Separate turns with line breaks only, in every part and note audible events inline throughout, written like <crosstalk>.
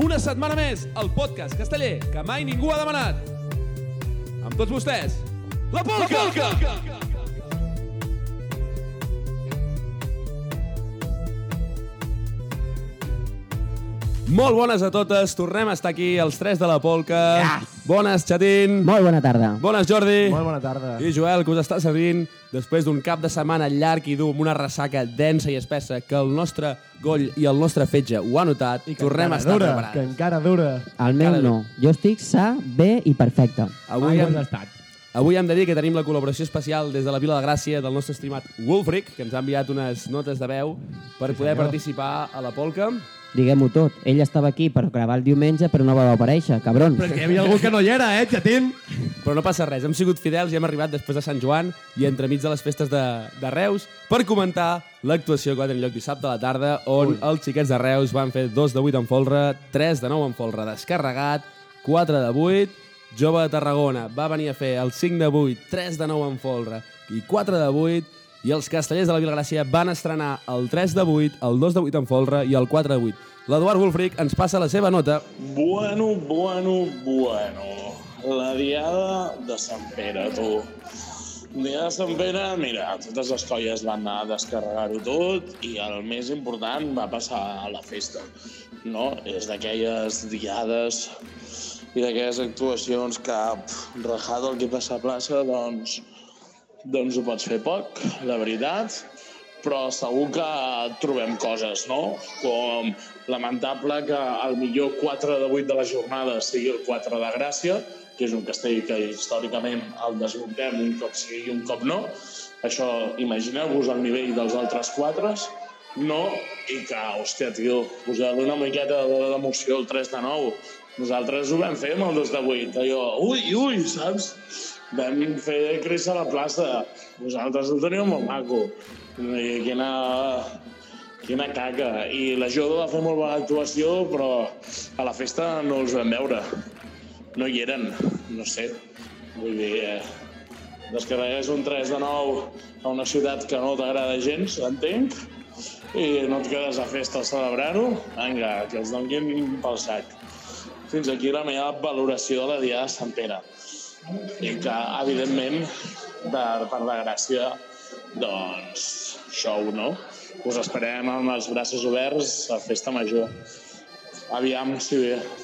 Una setmana més, el podcast casteller que mai ningú ha demanat. Amb tots vostès, la Polca! La Polca! Molt bones a totes, tornem a estar aquí els tres de la Polca. Yes. Bones, Xatín.
Molt bona tarda.
Bones, Jordi.
Molt bona tarda.
I Joel, que us està servint després d'un cap de setmana llarg i dur amb una ressaca densa i espessa que el nostre goll i el nostre fetge ho ha notat, I tornem a estar
dura, que
preparats.
encara dura.
El meu
Cada-
no. Jo estic sa, bé i perfecte.
Avui,
Mai ho
hem,
has estat.
avui hem de dir que tenim la col·laboració especial des de la Vila de Gràcia del nostre estimat Wolfric, que ens ha enviat unes notes de veu per poder participar a la polca.
Diguem-ho tot. Ell estava aquí per gravar el diumenge, però no va aparèixer, cabron.
Però és que hi havia algú que no hi era, eh, Xatín?
Però no passa res, hem sigut fidels i hem arribat després de Sant Joan i entremig de les festes de, de Reus per comentar l'actuació que va tenir lloc dissabte a la tarda on Ui. els xiquets de Reus van fer 2 de 8 en folre, 3 de 9 en folre descarregat, 4 de 8, Jove de Tarragona va venir a fer el 5 de 8, 3 de 9 en folre i 4 de 8 i els castellers de la Vilagràcia van estrenar el 3 de 8, el 2 de 8 en folre i el 4 de 8. L'Eduard Wolfric ens passa la seva nota
Bueno, bueno, bueno. La diada de Sant Pere, tu. Diada de Sant Pere, mira, totes les colles van anar a descarregar-ho tot i el més important va passar a la festa. No? És d'aquelles diades i d'aquelles actuacions que, pff, rajado el que passa a plaça, doncs, doncs ho pots fer poc, la veritat, però segur que trobem coses, no? Com lamentable que el millor 4 de 8 de la jornada sigui el 4 de Gràcia, que és un castell que històricament el desmuntem un cop sí i un cop no. Això, imagineu-vos el nivell dels altres 4, no, i que, hòstia, tio, posar-li una miqueta de- d'emoció al 3 de 9. Nosaltres ho vam fer amb el 2 de 8, allò, ui, ui, saps? vam fer créixer la plaça. Vosaltres el teníeu molt maco. I quina, quina caca. I la Jodo va fer molt bona actuació, però a la festa no els vam veure. No hi eren, no sé. Vull dir, eh, descarregues un 3 de 9 a una ciutat que no t'agrada gens, entenc, i no et quedes a festa a celebrar-ho, vinga, que els donin pel sac. Fins aquí la meva valoració de la Diada de Sant Pere i que, evidentment, per, per la gràcia, doncs, show, no? Us esperem amb els braços oberts a Festa Major. Aviam si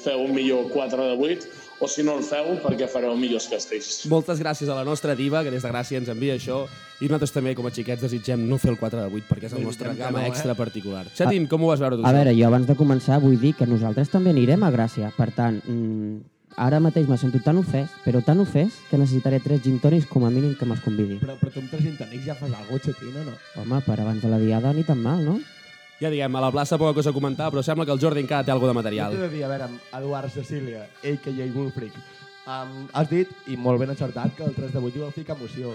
feu un millor 4 de 8 o si no el feu perquè fareu millors castells.
Moltes gràcies a la nostra diva, que des de Gràcia ens envia això, i nosaltres també, com a xiquets, desitgem no fer el 4 de 8, perquè és el nostre
Desitgem que
gamma
no, eh?
extra particular. Xatín, com ho vas veure tu?
A veure, jo abans de començar vull dir que nosaltres també anirem a Gràcia. Per tant, mm, ara mateix me sento tan ofès, però tan ofès, que necessitaré tres gintònics com a mínim que me'ls convidi.
Però, però tu amb tres intenics ja fas alguna cosa, Xatín, o no?
Home, per abans de la diada ni tan mal, no?
Ja diguem, a la plaça poca cosa a comentar, però sembla que el Jordi encara té alguna de
Jo
material.
t'he de dir, a veure, amb Eduard Cecília, a.k.a. Wolfric, um, has dit, i molt ben encertat, que el 3 de 8 li vau ficar emoció.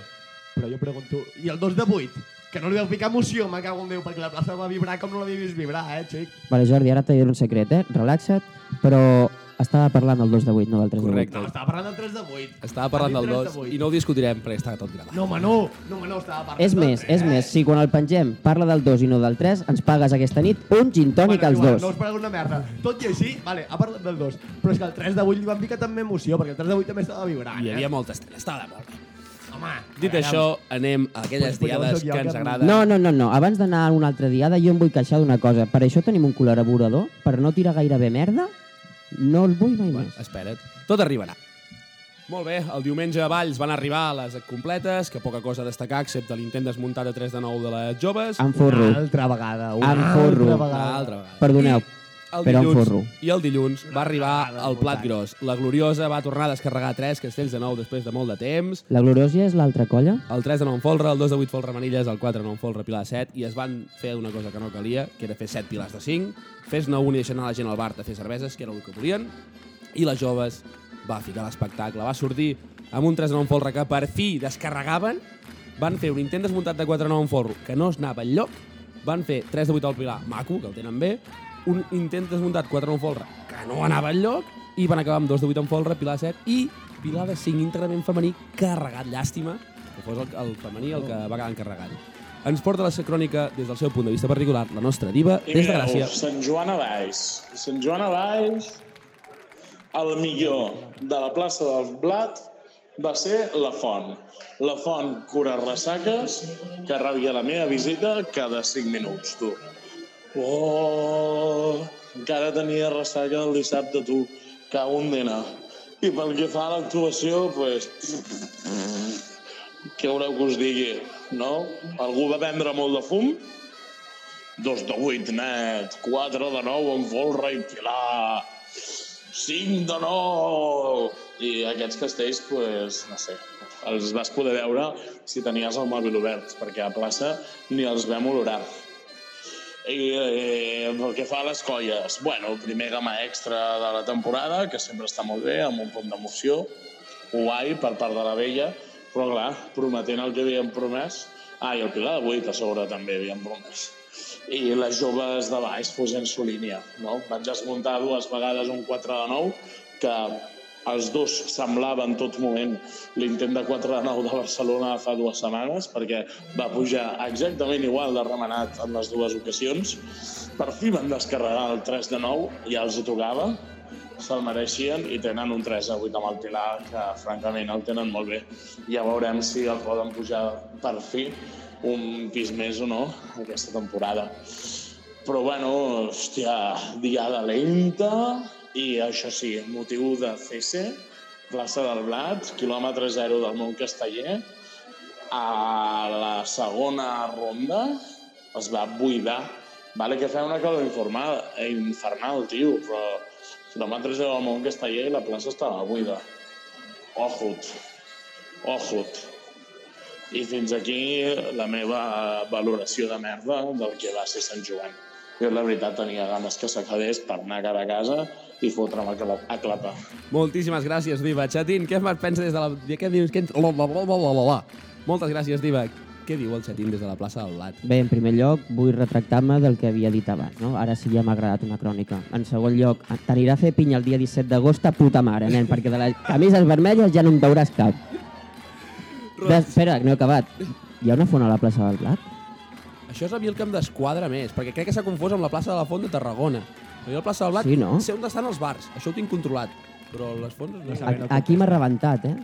Però jo pregunto, i el 2 de 8? Que no li vau ficar emoció, me cago en Déu, perquè la plaça va vibrar com no l'havia vist vibrar, eh, xic?
Vale, Jordi, ara t'he dit un secret, eh? Relaxa't, però estava parlant del 2 de 8, no del 3 de 8.
Correcte.
No, estava parlant del 3 de 8.
Estava parlant del 2 i no ho discutirem, perquè està tot gravat.
No, home, no. No, home, no, estava parlant
És
del
més,
tres.
és més, si quan el pengem parla del 2 i no del 3, ens pagues aquesta nit un gin tònic als
igual, No
dos.
us pareu una merda. Tot i així, vale, ha parlat del 2, però és que el 3 de 8 li van picar també emoció, perquè el 3 de 8 també estava vibrant.
Hi havia
eh?
molta estrella, estava de molt bé.
Home,
Dit
aviam.
això, anem a aquelles
Pues, pues,
diades
llavors sóc jo
que
que
ens
em-
agraden.
No, no, no, no. Abans d'anar a una altra diada, jo em vull queixar d'una cosa. Per això tenim un col·laborador, per no tirar gaire bé merda, no el vull mai més.
Espera't, tot arribarà. Molt bé, el diumenge a Valls van arribar les completes, que poca cosa a destacar, excepte l'intent desmuntat de 3 de 9 de les joves.
Em forro.
Una altra vegada, una
Em forro.
altra
Una
vegada.
altra vegada.
Perdoneu,
El
però em
dilluns,
forro.
I el dilluns va arribar
vegada
el plat
important.
gros. La Gloriosa va tornar a descarregar tres castells de nou després de molt de temps.
La Gloriosa és l'altra colla?
El 3 de 9 en folre, el 2 de 8 folre manilles, el 4 de 9 en folre pilar de 7, i es van fer una cosa que no calia, que era fer 7 pilars de 5, fes-ne un i deixar anar la gent al bar a fer cerveses, que era el que volien, i les joves va ficar l'espectacle, va sortir amb un 3 de 9 en folre que per fi descarregaven, van fer un intent desmuntat de 4 de 9 en folre que no es anava enlloc, van fer 3 de 8 al pilar maco, que el tenen bé, un intent desmuntat 4 de 9 en folre que no anava enlloc, i van acabar amb 2 de 8 en folre, pilar de 7 i pilar de 5 íntegrament femení carregat, llàstima, que fos el, el femení el que va quedar encarregat. ens porta la seva crònica des del seu punt de vista particular, la nostra diva,
I
des de
mireu,
Gràcia.
Sant Joan a Baix. Sant Joan a Baix, el millor de la plaça del Blat va ser la font. La font cura ressaques, que rebia la meva visita cada 5 minuts, tu. Oh, encara tenia ressaca el dissabte, tu. Cago un dinar. I pel que fa a l'actuació, doncs... Pues, què haureu que us digui? No? Algú va vendre molt de fum? Dos de vuit net, quatre de nou amb folre i pilar, cinc de nou... I aquests castells, pues, no sé, els vas poder veure si tenies el mòbil obert, perquè a plaça ni els vam olorar. I eh, pel que fa a les colles, bueno, primer gama extra de la temporada, que sempre està molt bé, amb un punt d'emoció, guai per part de la vella, però clar, prometent el que havíem promès, ah, i el Pilar de 8 a sobre també havíem promès, i les joves de baix fosent su línia, no? Vaig desmuntar dues vegades un 4 de 9, que els dos semblava en tot moment l'intent de 4 de 9 de Barcelona fa dues setmanes, perquè va pujar exactament igual de remenat en les dues ocasions. Per fi van descarregar el 3 de 9, ja els hi tocava, se'l mereixien i tenen un 3 a 8 amb el Pilar, que francament el tenen molt bé. Ja veurem si el poden pujar per fi un pis més o no aquesta temporada. Però bueno, hòstia, diada lenta i això sí, motiu de CC, plaça del Blat, quilòmetre zero del món casteller, a la segona ronda es va buidar. Vale que feia una calor informal, infernal, tio, però quilòmetres de Mont Casteller i la plaça estava buida. Ojut. Ojut. I fins aquí la meva valoració de merda del que va ser Sant Joan. Jo, la veritat, tenia ganes que s'acabés per anar cara a casa i fotre'm a cla- a clapar.
Moltíssimes gràcies, Diva. Chatín, què en pensa des de la... de Què dius? Què... ens- La, la, la, la, la, la, la. Moltes gràcies, Diva. Què diu el Chatín des de la plaça del Lat?
Bé, en primer lloc, vull retractar-me del que havia dit abans, no? Ara sí ja m'ha agradat una crònica. En segon lloc, t'anirà a fer pinya el dia 17 d'agost a puta mare, nen, perquè de les camises vermelles ja no en veuràs cap. De, espera, que no he acabat. Hi ha una font a la plaça del Blat?
Això és a mi el que em desquadra més, perquè crec que s'ha confós amb la plaça de la Font de Tarragona. A mi la plaça del Blat
Sí, no?
sé on estan els bars, això ho tinc controlat. Però les fonts no
A,
sabem.
aquí m'ha rebentat, eh?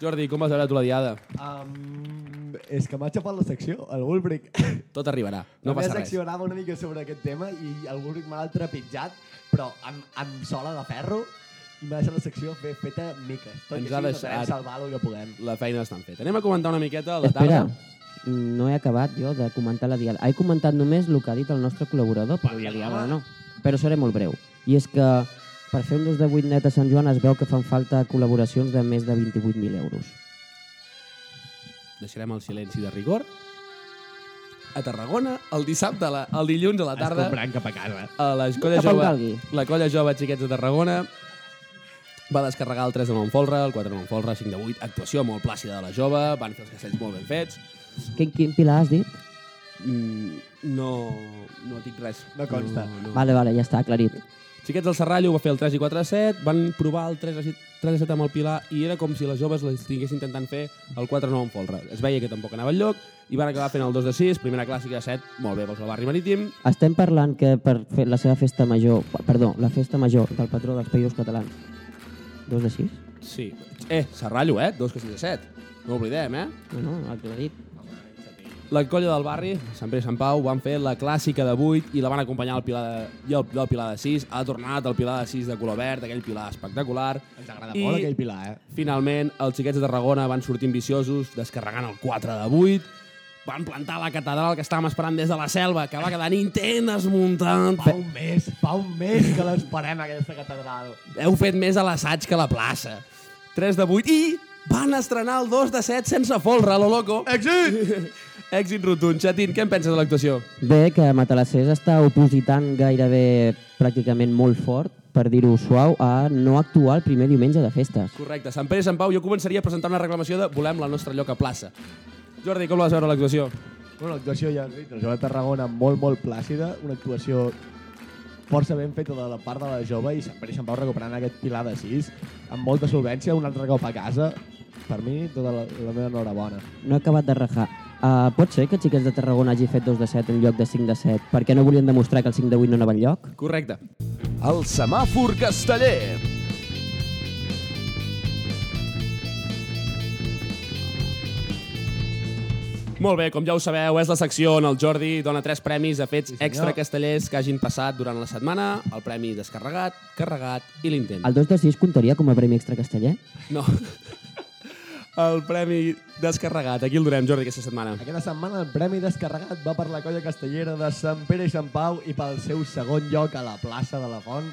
Jordi, com vas veure tu la diada?
Um, és que m'ha xapat la secció, el Wolbrick. <laughs>
Tot arribarà, no
la meva
passa res.
secció anava una mica sobre aquest tema i el Wolbrick me l'ha trepitjat, però amb, amb sola de ferro i m'ha deixat la secció fe, feta miques. Tot
Ens
i
ha
així,
deixat-
intentarem salvar el que puguem.
La feina està feta. Anem a comentar una miqueta la tarda.
Espera, no he acabat jo de comentar la diada. He comentat només el que ha dit el nostre col·laborador, però la diada no. Però seré molt breu. I és que per fer un 2 de 8 net a Sant Joan es veu que fan falta col·laboracions de més de 28.000 euros.
Deixarem el silenci de rigor. A Tarragona, el dissabte, a la, el dilluns a la tarda...
cap a casa.
a la colla
Cap on
jove,
calgui.
la colla jove Xiquets de Tarragona va descarregar el 3 de Montfolra, el 4 de Montfolra, 5 de 8, actuació molt plàcida de la jove, van fer els castells molt ben fets.
Quin, quin pilar has dit?
Mm, no, no dic res.
No consta.
No, no.
Vale, vale, ja està aclarit.
Xiquets del Serrallo va fer el 3 i 4 de 7, van provar el 3 a 7, 3 a 7 amb el Pilar i era com si les joves les tinguessin intentant fer el 4 a 9 amb Folra. Es veia que tampoc anava enlloc i van acabar fent el 2 de 6, primera clàssica de 7, molt bé, vols el barri marítim,
Estem parlant que per fer la seva festa major, perdó, la festa major del patró dels països catalans, dos de sis?
sí. Eh, Serrallo, eh? 2 que 6 de 7. No ho oblidem, eh?
No, no, aclarit.
La colla del barri, Sant Pere i Sant Pau, van fer la clàssica de 8 i la van acompanyar el Pilar de, i el, del Pilar de 6. Ha tornat el Pilar de 6 de color verd, aquell Pilar espectacular.
Ens agrada
I-
molt aquell pilar, eh?
Finalment, els xiquets de Tarragona van sortir ambiciosos, descarregant el 4 de 8. Van plantar la catedral que estàvem esperant des de la selva, que va quedar Nintendo desmuntant.
Fa un mes, fa un mes que l'esperem, aquesta catedral.
Heu fet més a l'assaig que a la plaça. 3 de 8 i van estrenar el 2 de 7 sense folre, lo loco. Èxit! <laughs> Èxit rotund. Xatín, què en penses de l'actuació?
Bé, que Matalassés està opositant gairebé pràcticament molt fort, per dir-ho suau, a no actuar el primer diumenge de festes.
Correcte. Sant Pere i Sant Pau, jo començaria a presentar una reclamació de volem el nostre lloc a plaça. Jordi, com la vas veure l'actuació?
Bueno, l'actuació ja has dit, la jove de Tarragona molt, molt plàcida, una actuació força ben feta de la part de la jove i sempre deixen Pau recuperant aquest pilar de 6 amb molta solvència, un altre cop a casa. Per mi, tota la, la meva enhorabona.
No he acabat de rajar. Uh, pot ser que Xiquets de Tarragona hagi fet 2 de 7 en lloc de 5 de 7 perquè no volien demostrar que el 5 de 8 no anava enlloc?
Correcte.
El semàfor casteller.
Molt bé, com ja ho sabeu, és la secció on el Jordi dona tres premis a fets sí, extra castellers que hagin passat durant la setmana, el premi descarregat, carregat i l'intent.
El 2 de 6 comptaria com a premi extra casteller?
No. <laughs> El premi descarregat. Aquí el donem, Jordi, aquesta setmana.
Aquesta setmana el Premi Descarregat va per la colla castellera de Sant Pere i Sant Pau i pel seu segon lloc a la plaça de la Font,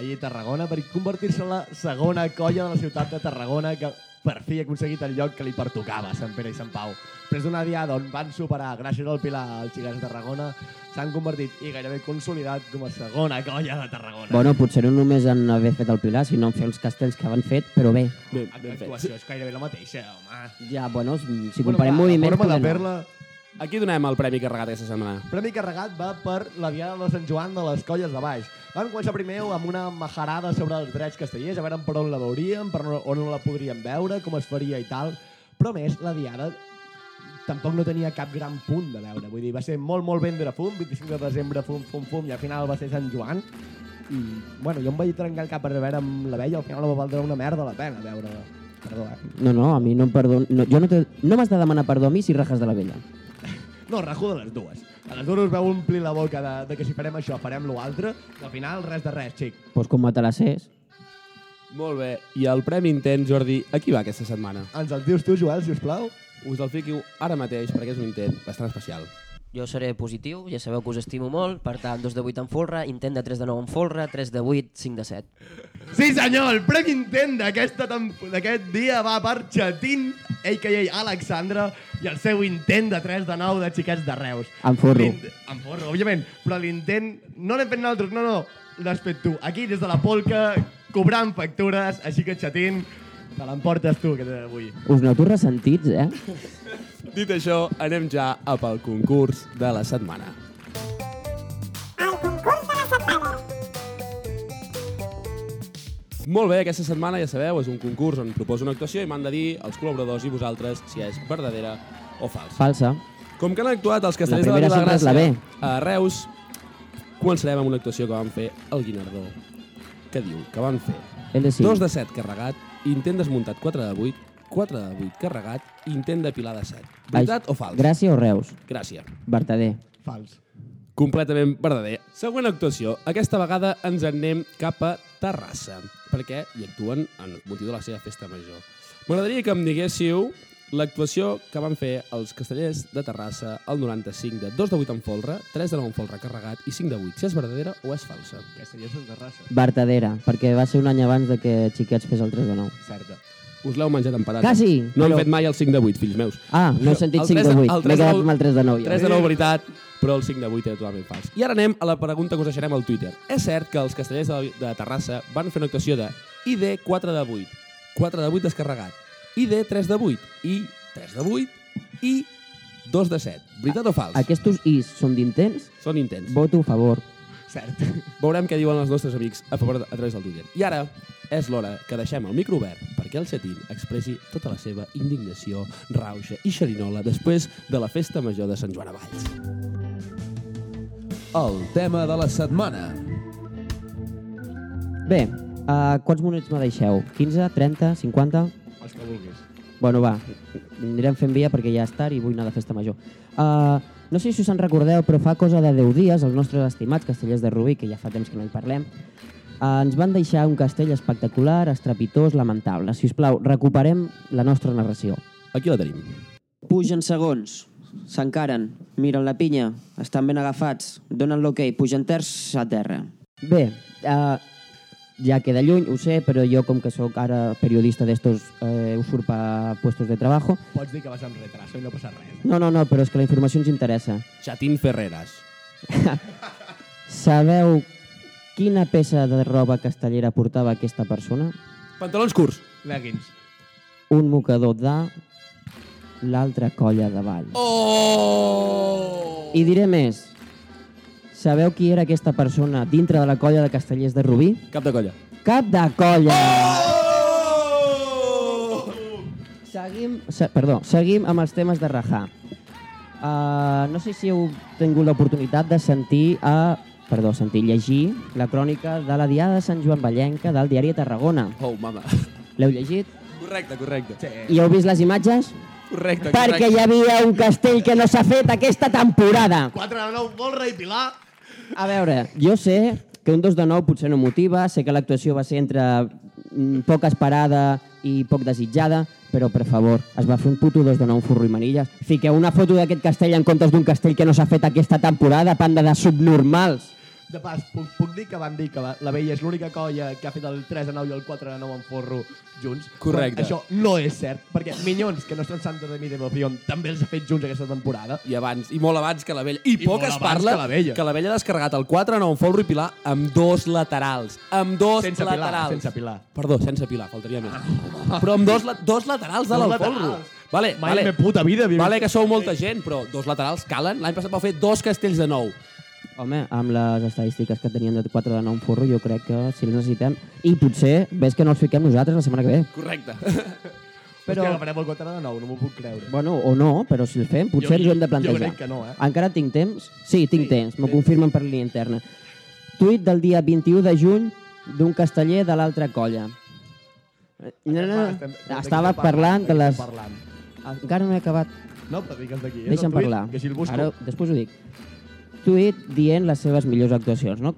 allà a Tarragona, per convertir-se en la segona colla de la ciutat de Tarragona que per fi ha aconseguit el lloc que li pertocava a Sant Pere i Sant Pau. Després d'una diada on van superar, gràcies al Pilar, els xicats de Tarragona, s'han convertit i gairebé consolidat com a segona colla de Tarragona.
Bueno, potser no només en haver fet el Pilar, sinó en fer els castells que van fet, però bé.
Ben, ben fet.
L'actuació és gairebé la mateixa, home.
Ja, bueno, si
Bueno,
comparem
va,
moviments...
Forma de
poder no.
perla...
Aquí donem el premi carregat aquesta setmana.
Premi carregat va per la Diada de Sant Joan de les Colles de Baix. Vam començar primer amb una majarada sobre els drets castellers, a veure per on la veuríem, per on- on la podríem veure, com es faria i tal. Però a més, la Diada tampoc no tenia cap gran punt de veure. Vull dir, va ser molt, molt vendre fum, 25 de desembre fum, fum, fum, i al final va ser Sant Joan. I, bueno, jo em vaig trencar el cap per veure amb la vella, al final no va valdre una merda la pena veure-la. Perdó, eh?
No, no, a mi no em perdon... No, jo no, te... no m'has de demanar perdó a mi si rajes de la vella.
No, rajo de les dues. A les dues us veu omplir la boca de, de que si farem això, farem lo altre, i al final res de res, xic.
Doncs pues com me te la sés.
Molt bé. I el premi intent, Jordi, a qui va aquesta setmana?
Ens el dius tu, Joel, si us plau?
Us el fico ara mateix perquè és un intent bastant especial.
Jo seré positiu, ja sabeu que us estimo molt, per tant, 2 de 8 en folre, intent de 3 de 9 en folre, 3 de 8, 5 de 7.
Sí, senyor, el premi intent d'aquesta tempo- d'aquest dia va per Chatín, a.k.a. Alexandra, i el seu intent de 3 de 9 de xiquets de Reus.
Em forro.
L'int- Em forro, òbviament, però l'intent no l'hem fet nosaltres, no, no, l'has fet tu. Aquí, des de la polca, cobrant factures, així que Chatín, te l'emportes tu, que avui.
Us noto ressentits, eh?
Dit això, anem ja a pel concurs de la setmana.
al concurs de la setmana.
Molt bé, aquesta setmana, ja sabeu, és un concurs on proposo una actuació i m'han de dir els col·laboradors i vosaltres si és verdadera o falsa.
Falsa.
Com que han actuat els castellers de
La
la
primera sempre és
Vilagràcia
la B.
a Reus, començarem amb una actuació que van fer al Guinardó, que diu que van fer
És de 5.
2 de 7 carregat, intent desmuntat 4 de 8, 4 de 8 carregat, intent de pilar de 7. Veritat o fals?
Gràcia o Reus?
Gràcies.
Verdader.
Fals.
Completament verdader. Següent actuació. Aquesta vegada ens en anem cap a Terrassa, perquè hi actuen en motiu de la seva festa major. M'agradaria que em diguéssiu l'actuació que van fer els castellers de Terrassa al 95 de 2 de 8 en folre, 3 de 9 en folre carregat i 5 de 8, si és verdadera o és falsa.
Castellers de Terrassa.
Vertadera, perquè va ser un any abans de que Xiquets fes el 3 de 9.
Certa.
Us l'heu menjat amb patates.
Quasi!
No
però-
hem fet mai el 5 de 8, fills meus.
Ah, no he sentit
El
5
tres
de
de-
8.
el
M'he
tres de-
quedat amb el 3 de eh? 9.
3 de 9, veritat, però el 5 de 8 era totalment fals. I ara anem a la pregunta que us deixarem al Twitter. És cert que els castellers de, de Terrassa van fer una actuació de ID 4 de 8, 4 de 8 descarregat, ID 3 de 8, i 3 de 8, i 2 de 7. Veritat o fals?
Aquestos is són d'intents?
Són intents.
Voto a favor.
Cert.
Veurem què diuen els nostres amics a favor a través del Twitter. I ara és l'hora que deixem el micro obert perquè el Cetín expressi tota la seva indignació, rauxa i xerinola després de la festa major de Sant Joan a Valls.
El tema de la setmana.
Bé, uh, quants minuts me deixeu? 15, 30, 50?
Els que vulguis.
Bueno, va, anirem fent via perquè ja és tard i vull anar de festa major. Uh, no sé si us en recordeu, però fa cosa de 10 dies els nostres estimats castellers de Rubí, que ja fa temps que no hi parlem, uh, ens van deixar un castell espectacular, estrepitós, lamentable. Si us plau, recuperem la nostra narració.
Aquí la tenim.
Pugen segons, s'encaren, miren la pinya, estan ben agafats, donen l'hoquei, pugen terç a terra.
Bé, uh, ja queda lluny, ho sé, però jo com que sóc ara periodista d'estos eh, usurpa puestos de trabajo...
Pots dir que vas amb retraso i no passa res.
No, no, no, però és que la informació ens interessa.
Chatín Ferreras.
Sabeu quina peça de roba castellera portava aquesta persona?
Pantalons curts.
Leggings.
Un mocador de l'altra colla de vall. Oh! I diré més. Sabeu qui era aquesta persona dintre de la colla de castellers de Rubí?
Cap de colla.
Cap de colla! Oh! Seguim, se, perdó, seguim amb els temes de rajar. Uh, no sé si heu tingut l'oportunitat de sentir a perdó, sentir, llegir la crònica de la Diada de Sant Joan Vallenca del diari de Tarragona.
Oh, mama.
L'heu llegit?
Correcte, correcte. Sí.
I heu vist les imatges?
Correcte,
Perquè hi havia un castell que no s'ha fet aquesta temporada.
4 de 9, molt rei Pilar.
A veure, jo sé que un 2 de 9 potser no motiva, sé que l'actuació va ser entre mm, poc esperada i poc desitjada, però, per favor, es va fer un puto 2 de 9 forro i manilles. Fiqueu una foto d'aquest castell en comptes d'un castell que no s'ha fet aquesta temporada, panda de subnormals.
De pas, puc, puc dir que van dir que la, la vella és l'única colla que ha fet el 3 de 9 i el 4 de 9 en forro junts.
Correcte.
Quan Això no és cert, perquè Minyons, que no estan santos de mi de Moción, també els ha fet junts aquesta temporada.
I abans, i molt abans que la vella. I,
I
poc
molt
es
abans
parla
que la vella.
que la vella ha descarregat el 4 en un Folro i Pilar amb dos laterals. Amb dos
Sense Pilar,
laterals.
sense Pilar.
Perdó, sense Pilar, faltaria més. però amb dos, la- dos laterals de
Dos
l'Alfolro.
laterals.
Vale,
Mai
vale.
en la puta vida havia
Vale
vist-
que sou molta gent, però dos laterals calen. L'any passat vau fer dos castells de nou.
Home, amb les estadístiques que tenien de 4 de 9 forro, jo crec que si les necessitem... I potser, ves que no els fiquem nosaltres la setmana que ve.
Correcte.
Però...
Però-
És que agafarem el 4 de 9, no m'ho puc creure.
Bueno, o no, però si el fem, potser
Jo-
ens ho hem de
jo
plantejar.
crec que no, eh?
Encara tinc temps? Sí, tinc temps. M'ho confirmen per línia interna. Tuit del dia 21 de juny d'un casteller de l'altra colla. Eh, No, no,
Va, estem- d'aquí
estava
estem
parlant de
d'aquí
les...
estem Parlant.
Encara no he acabat.
No, però digues d'aquí. és el
Deixa'm
tuit,
parlar.
Que si el busco...
Ara, després ho dic. Tuit dient les seves millors actuacions, no?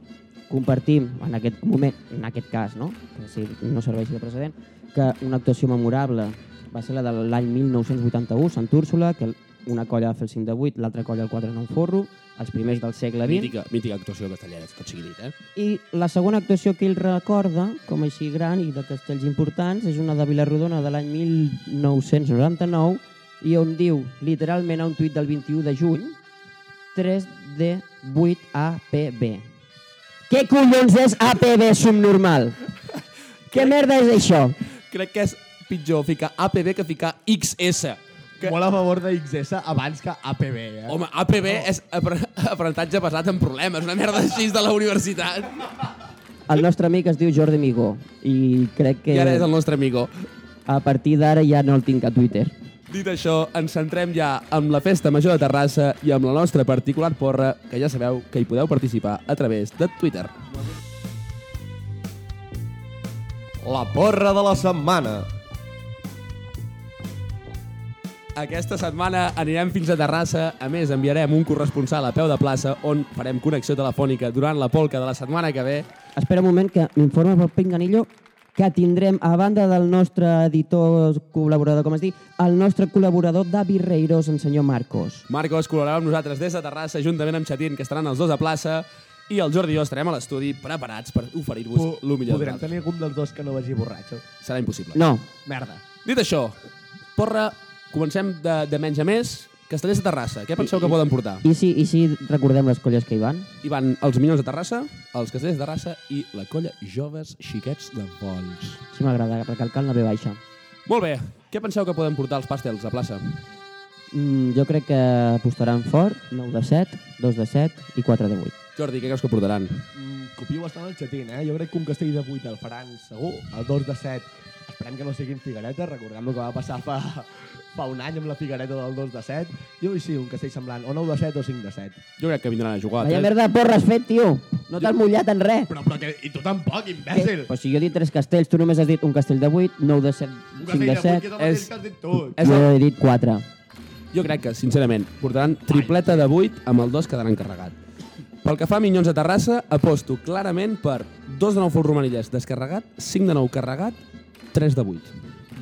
Compartim en aquest moment, en aquest cas, no? Que si no serveixi de precedent, que una actuació memorable va ser la de l'any 1981, Sant Úrsula, que una colla va fer el 5 de 8, l'altra colla el 4 en un forro, els primers del segle XX,
mítica, mítica actuació castellera, tot sigui dit, eh?
i la segona actuació que ell recorda, com així gran i de castells importants, és una de Vilarrodona de l'any 1999 i on diu, literalment a un tuit del 21 de juny, 3D8APB. Què collons és APB
<laughs>
subnormal? Què merda és això?
Crec que és pitjor ficar APB que ficar XS. Que,
Molt a favor de XS abans que APB, eh?
home, APB és apre- <laughs> aprenentatge basat en problemes, una merda així de la universitat.
El nostre amic es diu Jordi Migó i crec que
I ara és el nostre amigo.
a partir d'ara ja no el tinc a Twitter.
Dit això, ens centrem ja amb la Festa Major de Terrassa i amb la nostra particular porra, que ja sabeu que hi podeu participar a través de Twitter.
La porra de la setmana.
Aquesta setmana anirem fins a Terrassa. A més, enviarem un corresponsal a peu de plaça on farem connexió telefònica durant la polca de la setmana que ve.
Espera un moment que m'informa pel Pinganillo que tindrem, a banda del nostre editor col·laborador, com es diu, el nostre col·laborador Davi Reiros, el senyor Marcos.
Marcos col·laborarà amb nosaltres des de Terrassa, juntament amb Xatín, que estaran els dos a plaça, i el Jordi i jo estarem a l'estudi preparats per oferir-vos el millor. de
Podrem
nosaltres.
tenir algun dels dos que no vagi borratxo.
Serà impossible.
No,
Merda.
Dit això, porra, comencem de, de menys a més. Castellers de Terrassa, què penseu que poden portar?
i si, i si recordem les colles que hi van?
Hi van els Minyons de Terrassa, els Castellers de Terrassa i la colla Joves Xiquets de Vols.
Si m'agrada recalcar la B baixa.
Molt bé, què penseu que poden portar els pastels a plaça?
Mm, jo crec que apostaran fort, 9 de 7, 2 de 7 i 4 de 8.
Jordi, què creus que portaran?
Mm, copio bastant el xatín, eh? Jo crec que un castell de 8 el faran segur, el 2 de 7. Esperem que no siguin figueretes, recordem el que va passar fa, fa un any amb la figuereta del 2 de 7. Jo vull sí, un castell semblant, o 9 de 7 o 5 de 7.
Jo crec que vindran a jugar. a
Vaya
tres.
merda de porra has fet, tio! No t'has mullat en res!
Però, però que, i tu tampoc, imbècil!
Però si jo he dit tres castells, tu només has dit un castell de 8, 9 de 7,
Un
5
castell
de
de 8 que és
7...
el mateix
és-
que has dit tu.
és
Jo
el-
he dit 4.
Jo crec que, sincerament, portaran tripleta de 8 amb el 2 quedaran carregat. Pel que fa a Minyons de Terrassa, aposto clarament per 2 de 9 fol romanilles descarregat, 5 de 9 carregat, 3 de 8.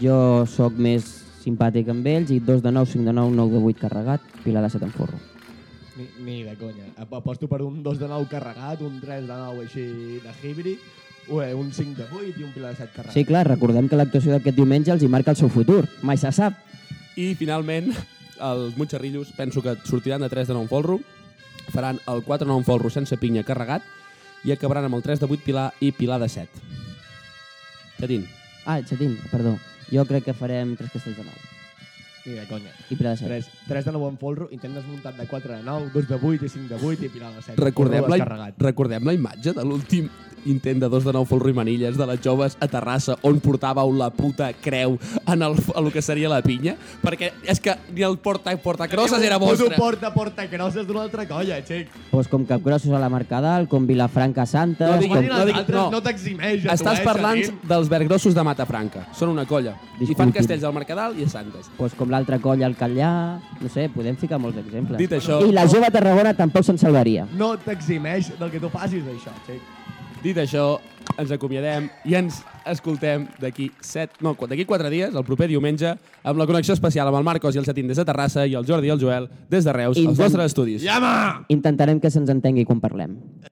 Jo sóc més simpàtic amb ells i 2 de 9, 5 de 9, 9 de 8 carregat, pila de 7 en forro.
Eh, Ni, ni de conya. Ap- Aposto per un 2 de 9 carregat, un 3 de 9 així de híbrid, ué, un 5 de 8 i un pilar de 7 carregat.
Sí, clar, recordem que l'actuació d'aquest diumenge els hi marca el seu futur. Mai se sap.
I, finalment, els mutxarrillos penso que sortiran de 3 de 9 folro, faran el 4 de 9 folro sense pinya carregat i acabaran amb el 3 de 8 pilar i pilar de 7. Xatín,
Ah, Xatín, perdó. Jo crec que farem 3 castells de 9
Ni de conya.
i pila de 7.
3, 3 de 9 en folro, intent desmuntat de 4 de 9, 2 de 8 i 5 de 8 i pilar de 7.
recordem
Folro
la,
descarregat.
recordem la imatge de l'últim intent de dos de nou folro i manilles de les joves a Terrassa on portàveu la puta creu en el, a lo que seria la pinya? Perquè és que ni el porta porta crosses era vostre.
Poso porta, porta crosses d'una altra colla, xec.
Doncs com Capgrossos a la Mercadal, com Vilafranca Santa...
No
Com
diguis-
com...
diguin els
diguis-
altres,
no.
no, t'eximeix. eh,
Estàs parlant dels vergrossos de Matafranca. Són una colla. I fan
Disculpi'm.
castells al Mercadal i a Santes.
Pues com l'altra colla, el Catllà... No sé, podem ficar molts exemples.
Dit això,
I la jove Tarragona tampoc se'n salvaria.
No t'eximeix del que tu facis, això, xec.
dit això, ens acomiadem i ens escoltem d'aquí set, no, d'aquí quatre dies, el proper diumenge, amb la connexió especial amb el Marcos i el Satín des de Terrassa i el Jordi i el Joel des de Reus, als
Intent-
vostres estudis.
Llama!
Intentarem que se'ns entengui quan parlem.